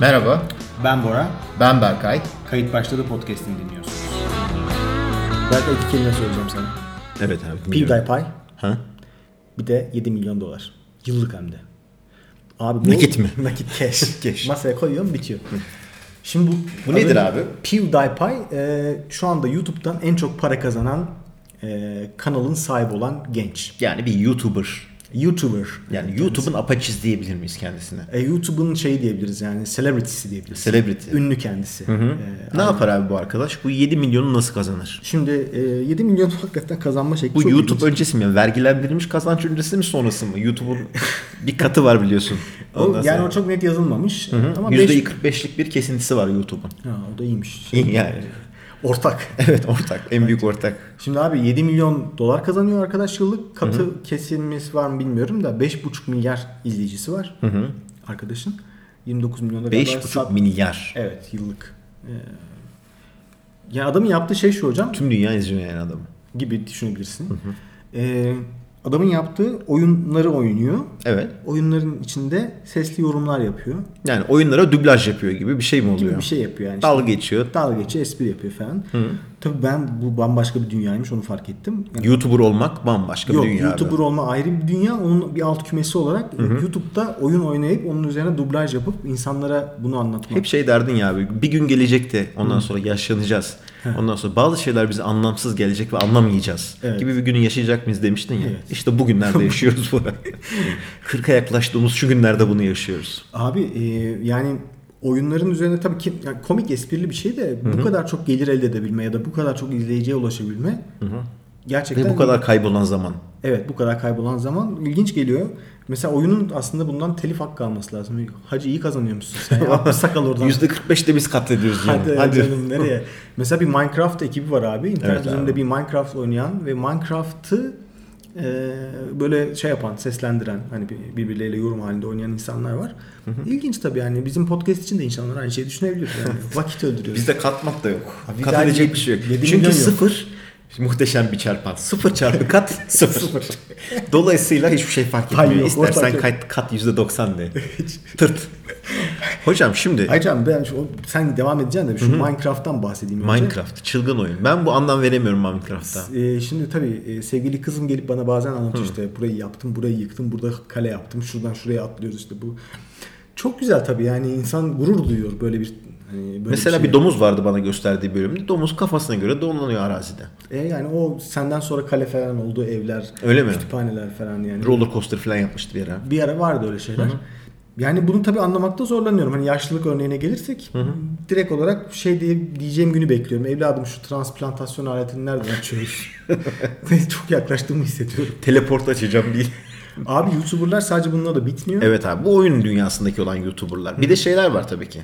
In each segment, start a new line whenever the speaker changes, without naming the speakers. Merhaba,
Ben Bora.
ben Berkay.
Kayıt başladı podcast'ini dinliyorsunuz. Belki iki kelime söyleyeceğim sana.
Evet abi. biliyorum.
PewDiePie
Ha?
bir de 7 milyon dolar. Yıllık hem de. Abi bu
Nakit mi?
Nakit cash.
Cash.
Masaya koyuyorum bitiyor. Şimdi bu,
Bu
az
nedir
önce
abi?
PewDiePie e, şu anda YouTube'dan en çok para kazanan e, kanalın sahibi olan genç.
Yani bir YouTuber.
YouTuber.
Yani YouTube'un apaçiz diyebilir miyiz kendisine?
E, YouTube'un şeyi diyebiliriz yani celebrity'si diyebiliriz.
Celebrity.
Ünlü kendisi. E,
ne yapar abi bu arkadaş? Bu 7 milyonu nasıl kazanır?
Şimdi e, 7 milyon hakikaten kazanma şekli
Bu
çok
YouTube
ilginç.
öncesi mi? Yani vergilendirilmiş kazanç öncesi mi sonrası mı? YouTube'un bir katı var biliyorsun.
O,
Ondan
yani
sonra-
o çok net yazılmamış. Ama beş-
%45'lik bir kesintisi var YouTube'un.
Ha, o da iyiymiş.
Yani
Ortak.
evet ortak. En büyük ortak.
Şimdi abi 7 milyon dolar kazanıyor arkadaş yıllık. Katı kesilmesi var mı bilmiyorum da 5,5 milyar izleyicisi var arkadaşın. 29 milyon da galiba
5,5
sat-
milyar.
Evet yıllık. Ee, ya adamın yaptığı şey şu hocam
Tüm dünya izliyor yani adamı.
gibi düşünebilirsin. Ee, adamın yaptığı oyunları oynuyor.
Evet.
Oyunların içinde sesli yorumlar yapıyor.
Yani oyunlara dublaj yapıyor gibi bir şey mi oluyor?
Bir şey yapıyor yani. işte.
Dalga geçiyor.
dalga geçiyor, espri yapıyor falan. Tabii ben bu bambaşka bir dünyaymış onu fark ettim. Yani
YouTuber olmak bambaşka
yok
bir dünya. abi.
YouTuber olma ayrı bir dünya. Onun bir alt kümesi olarak YouTube'da oyun oynayıp onun üzerine dublaj yapıp insanlara bunu anlatmak.
Hep şey derdin ya abi bir gün gelecekti ondan sonra yaşlanacağız. Ondan sonra bazı şeyler bize anlamsız gelecek ve anlamayacağız
Evet.
gibi bir günü yaşayacak mıyız demiştin ya.
Evet.
İşte bu günlerde yaşıyoruz bu. 40'a yaklaştığımız şu günlerde bunu yaşıyoruz.
Abi e, yani oyunların üzerine tabii ki yani komik esprili bir şey de bu kadar çok gelir elde edebilme ya da bu kadar çok izleyiciye ulaşabilme gerçekten
Ve bu kadar kaybolan zaman.
Evet bu kadar kaybolan zaman ilginç geliyor. Mesela oyunun aslında bundan telif hakkı alması lazım. Hacı iyi kazanıyormuşsun sen. ya. Atmış sakal oradan.
%45 de biz katlediyoruz yani.
Hadi,
Hadi.
canım nereye? Mesela bir Minecraft ekibi var abi. İnternet
Evet abi.
üzerinde bir Minecraft oynayan ve Minecraft'ı e, böyle şey yapan, seslendiren hani bir- birbirleriyle yorum halinde oynayan insanlar var. İlginç tabii yani bizim podcast için de insanlar aynı şeyi düşünebilir. Yani vakit öldürüyoruz.
Bizde katmak da yok.
bir
Kat
daha
edecek
yedi-
bir şey yok.
yedi milyon
Çünkü
yok.
sıfır muhteşem bir çarpan. Sıfır çarpı kat sıfır. Dolayısıyla hiçbir şey fark etmiyor.
Pay yok, ortak
İstersen
yok.
kat, kat %90 de. Tırt. Hocam şimdi
Ayrıca ben şu, sen devam edeceksin de bir şu Minecraft'tan bahsedeyim önce.
Minecraft çılgın oyun. Ben bu anlam veremiyorum Minecraft'a.
Ee, şimdi tabii e, sevgili kızım gelip bana bazen anlatıyor işte burayı yaptım, burayı yıktım, burada kale yaptım, şuradan şuraya atlıyoruz işte bu. Çok güzel tabii yani insan gurur duyuyor böyle bir hani böyle
Mesela bir
şeye.
domuz vardı bana gösterdiği bölümde. Domuz kafasına göre dolanıyor arazide.
E, yani o senden sonra kale falan oldu, evler,
Öyle mi?
kütüphaneler falan yani.
Roller coaster falan yapmıştı bir ara.
bir ara vardı öyle şeyler. Yani bunu tabii anlamakta zorlanıyorum. Hani yaşlılık örneğine gelirsek direkt olarak şey diye diyeceğim günü bekliyorum. Evladım şu transplantasyon aletini nereden açıyoruz? Çok yaklaştığımı hissediyorum.
Teleport açacağım değil.
Abi YouTuber'lar sadece bununla da bitmiyor.
Evet abi bu oyun dünyasındaki olan YouTuber'lar. Bir de şeyler var tabii ki.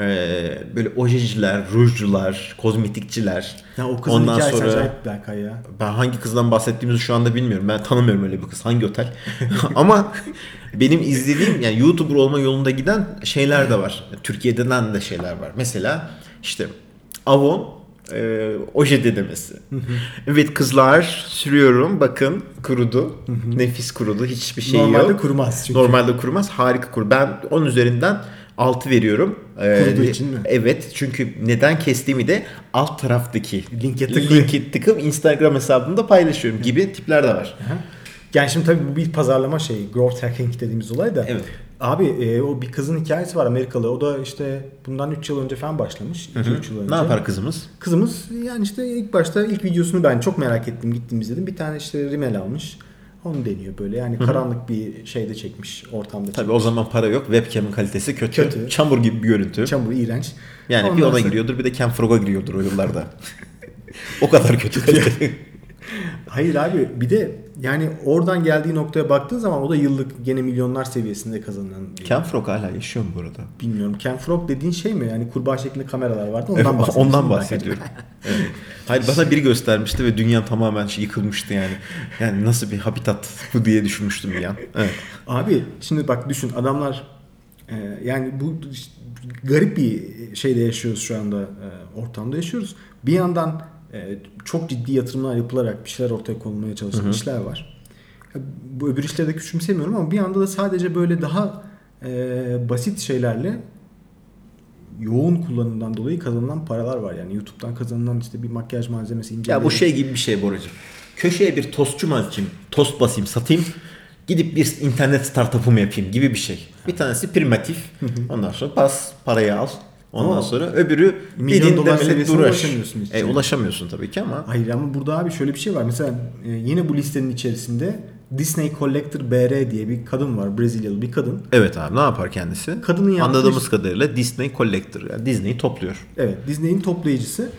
Ee, böyle ojeciler, rujcular, kozmetikçiler.
Ya o kızın hikayesi acayip Berkay ya.
ben hangi kızdan bahsettiğimizi şu anda bilmiyorum. Ben tanımıyorum öyle bir kız. Hangi otel? Ama benim izlediğim yani YouTuber olma yolunda giden şeyler de var. Türkiye'den de şeyler var. Mesela işte Avon e, oje dedemesi. evet kızlar sürüyorum bakın kurudu. Nefis kurudu. Hiçbir şey
Normalde
yok.
kurumaz çünkü.
Normalde kurumaz. Harika kur. Ben 10 üzerinden 6 veriyorum. Ee,
Kuruduğu için mi?
Evet. Çünkü neden kestiğimi de alt taraftaki
Linke tıklayıp-
linki tıkıp Instagram hesabımda paylaşıyorum gibi tipler de var.
Yani şimdi tabii bu bir pazarlama şeyi. Growth hacking dediğimiz olay da.
Evet.
Abi e, o bir kızın hikayesi var Amerikalı. O da işte bundan 3 yıl önce falan başlamış. 2-3 yıl önce.
Ne yapar kızımız?
Kızımız yani işte ilk başta ilk videosunu ben çok merak ettim gittim izledim. Bir tane işte rimel almış. Onu deniyor böyle yani karanlık bir şeyde çekmiş ortamda.
Tabii o zaman para yok. Webcam'in kalitesi kötü.
Kötü.
Çamur gibi bir görüntü.
çekmiş. Çamur iğrenç.
yani
Ondan
bir ona
sonra-
giriyordur bir de Ken Frog'a giriyordur o yıllarda. o kadar kötü. kalite.
Hayır abi bir de yani oradan geldiği noktaya baktığın zaman o da yıllık gene milyonlar seviyesinde kazanılan bir
Ken Frog hala yaşıyor mu burada?
Bilmiyorum. Ken Frog dediğin şey mi? Yani kurbağa şeklinde kameralar vardı. Ondan bahsediyorsun.
Ondan bahsediyorum. Evet. Hayır bana biri göstermişti ve dünya tamamen şey, yıkılmıştı yani. Yani nasıl bir habitat bu diye düşünmüştüm bir an. Evet.
Abi şimdi bak düşün adamlar e, yani bu işte garip bir şeyde yaşıyoruz şu anda e, ortamda yaşıyoruz. Bir yandan e, çok ciddi yatırımlar yapılarak bir şeyler ortaya konulmaya çalışan işler var. E, Bu öbür işleri de küçümsemiyorum ama bir yanda da sadece böyle daha e, basit şeylerle yoğun kullanımdan dolayı kazanılan paralar var. Yani YouTube'dan kazanılan işte bir makyaj malzemesi
Ya
incelemeleri.
bu şey gibi bir şey Boracığım. Köşeye bir tostçu mu açayım, tost basayım, satayım. Gidip bir internet startup'ı mı yapayım gibi bir şey. Bir tanesi primatif. Ondan sonra bas, parayı al. Ondan
Ama
sonra öbürü
milyon
dilin
dolar
demeli
seviyesine
uğraş.
ulaşamıyorsun hiç
E,
yani.
ulaşamıyorsun tabii ki ama.
Hayır ama burada abi şöyle bir şey var. Mesela e, yine bu listenin içerisinde Disney Collector BR diye bir kadın var. Brezilyalı bir kadın.
Evet abi ne yapar kendisi?
Kadının yaptığı-
Anladığımız kadarıyla Disney Collector. Yani Disney'i topluyor.
Evet Disney'in toplayıcısı.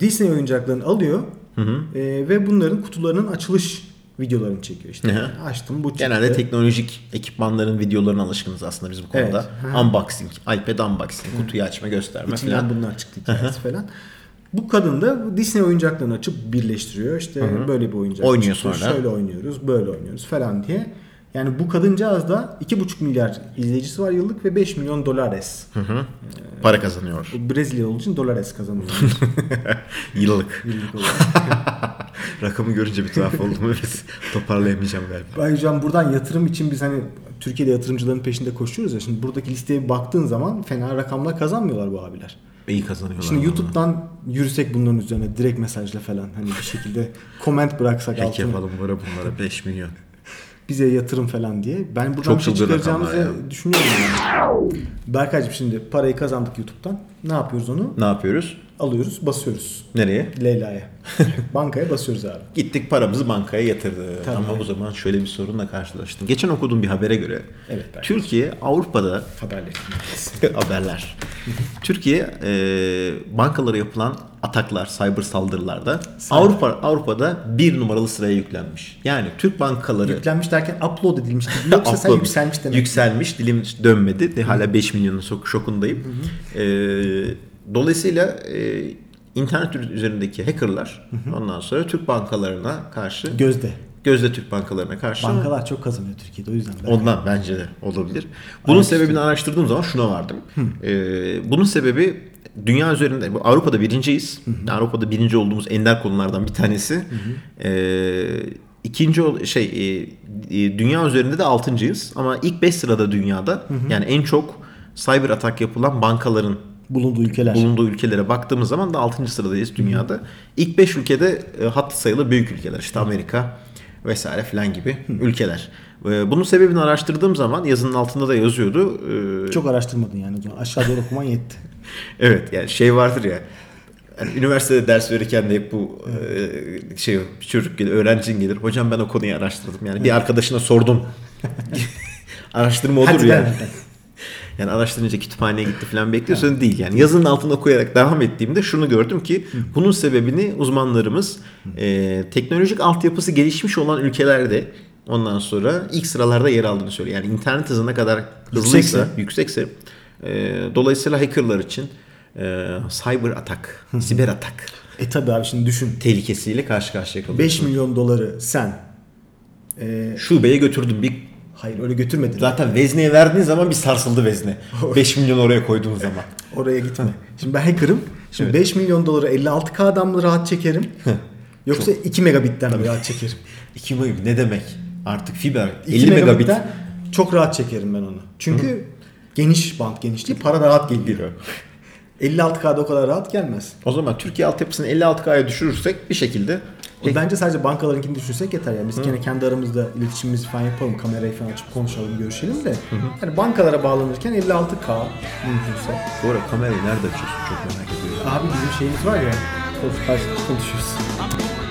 Disney oyuncaklarını alıyor e, ve bunların kutularının açılış videolarını çekiyor. İşte
Hı hı.
açtım bu çıktı.
Genelde teknolojik ekipmanların videolarına alışkınız aslında biz bu konuda.
Evet.
Unboxing, iPad unboxing, kutuyu açma, gösterme
İçinden
falan.
bunlar çıktı hikayesi falan. Bu kadın da bu Disney oyuncaklarını açıp birleştiriyor. İşte böyle bir oyuncak
Oynuyor
çıktı,
sonra.
Şöyle oynuyoruz, böyle oynuyoruz falan diye. Yani bu kadıncağız da 2,5 milyar izleyicisi var yıllık ve 5 milyon dolares.
Para kazanıyor.
Bu Brezilya olduğu için dolares kazanıyor.
Yıllık.
yıllık olarak.
Rakamı görünce bir tuhaf oldum. Evet. Toparlayamayacağım galiba.
Ayrıca buradan yatırım için biz hani Türkiye'de yatırımcıların peşinde koşuyoruz ya. Şimdi buradaki listeye baktığın zaman fena rakamlar kazanmıyorlar bu abiler.
İyi kazanıyorlar.
Şimdi
vallahi.
YouTube'dan yürüsek bunların üzerine direkt mesajla falan hani bir şekilde comment bıraksak
Peki
altına
yapalım bora bunlara 5 milyon.
bize yatırım falan diye. Ben buradan
Çok
bir şey
çılgın
çıkaracağımızı
rakamlar ya.
düşünüyorum. Yani. Berkaycığım şimdi parayı kazandık YouTube'dan. Ne yapıyoruz onu?
Ne yapıyoruz?
Alıyoruz basıyoruz.
Nereye?
Leyla'ya. Bankaya basıyoruz abi.
Gittik paramızı bankaya yatırdık.
Tabii.
Ama o zaman şöyle bir sorunla karşılaştım. Geçen okuduğum bir habere göre
Evet, belki.
Türkiye Avrupa'da
Haberleştirmeyiz.
haberler. Türkiye e, bankalara yapılan ataklar, cyber saldırılarda Avrupa Avrupa'da bir numaralı sıraya yüklenmiş. Yani Türk bankaları
Yüklenmiş derken upload edilmiş gibi. Yoksa sen
Upload.
yükselmiş demek.
Yükselmiş, dilim dönmedi. De, hala 5 milyonun sok- şokundayım. Ee, dolayısıyla e, internet üzerindeki hackerlar ondan sonra Türk bankalarına karşı
Gözde.
gözde Türk bankalarına karşı
Bankalar çok kazanıyor Türkiye'de o yüzden. Berkay.
Ondan bence de olabilir. Bunun sebebini araştırdığım zaman şuna vardım. Ee, bunun sebebi dünya üzerinde bu Avrupa'da birinciyiz. Avrupa'da birinci olduğumuz ender konulardan bir tanesi. Ee, ikinci ol- şey e, e, dünya üzerinde de altıncıyız ama ilk 5 sırada dünyada yani en çok cyber atak yapılan bankaların
Bulunduğu ülkeler.
bulunduğu ülkelere baktığımız zaman da 6. sıradayız dünyada. İlk 5 ülkede e, hattı sayılı büyük ülkeler. İşte Amerika vesaire filan gibi ülkeler. E, Bunun sebebini araştırdığım zaman yazının altında da yazıyordu. E,
Çok araştırmadın yani. o zaman. Aşağı doğru okuman yetti.
Evet yani şey vardır ya. yani üniversitede ders verirken de hep bu e, şey bir çocuk gelir, öğrencin gelir. Hocam ben o konuyu araştırdım. Yani bir arkadaşına sordum. Araştırma olur
Hadi
yani.
ben-
Yani araştırınca kütüphaneye gitti falan bekliyorsun değil yani. Yazının altına koyarak devam ettiğimde şunu gördüm ki bunun sebebini uzmanlarımız e, teknolojik altyapısı gelişmiş olan ülkelerde ondan sonra ilk sıralarda yer aldığını söylüyor. Yani internet hızına kadar hızlıysa,
Yüksekse.
yüksekse, e, dolayısıyla hackerlar için e, cyber atak, siber atak
E tabi abi şimdi düşün.
tehlikesiyle karşı karşıya kalıyor.
5 milyon doları sen e,
Şubeye götürdüm bir
hayır öyle götürmedin.
Zaten vezneye verdiğin zaman bir sarsıldı vezne. 5 milyon oraya koyduğun zaman.
Oraya gitme. Şimdi ben hacker'ım. Şimdi 5 milyon doları 56K'dan mı rahat çekerim? Yoksa 2 megabitten mi rahat çekerim?
2 megabit ne demek? Artık fiber
2
50 megabit.
megabitten çok rahat çekerim ben onu. Çünkü geniş bant genişliği para da rahat geliyor. 56K'da o kadar rahat gelmez.
O zaman Türkiye altyapısını 56K'ya düşürürsek bir şekilde
O Bence sadece bankalarınkini düşünsek yeter ya. Biz gene kendi aramızda iletişimimizi falan yapalım. Kamerayı falan açıp konuşalım, görüşelim de. Yani bankalara bağlanırken 56K mümkünse.
bu ara kamerayı nerede açıyorsun çok merak ediyorum.
Abi bizim şeyimiz var ya. Konuşuyoruz.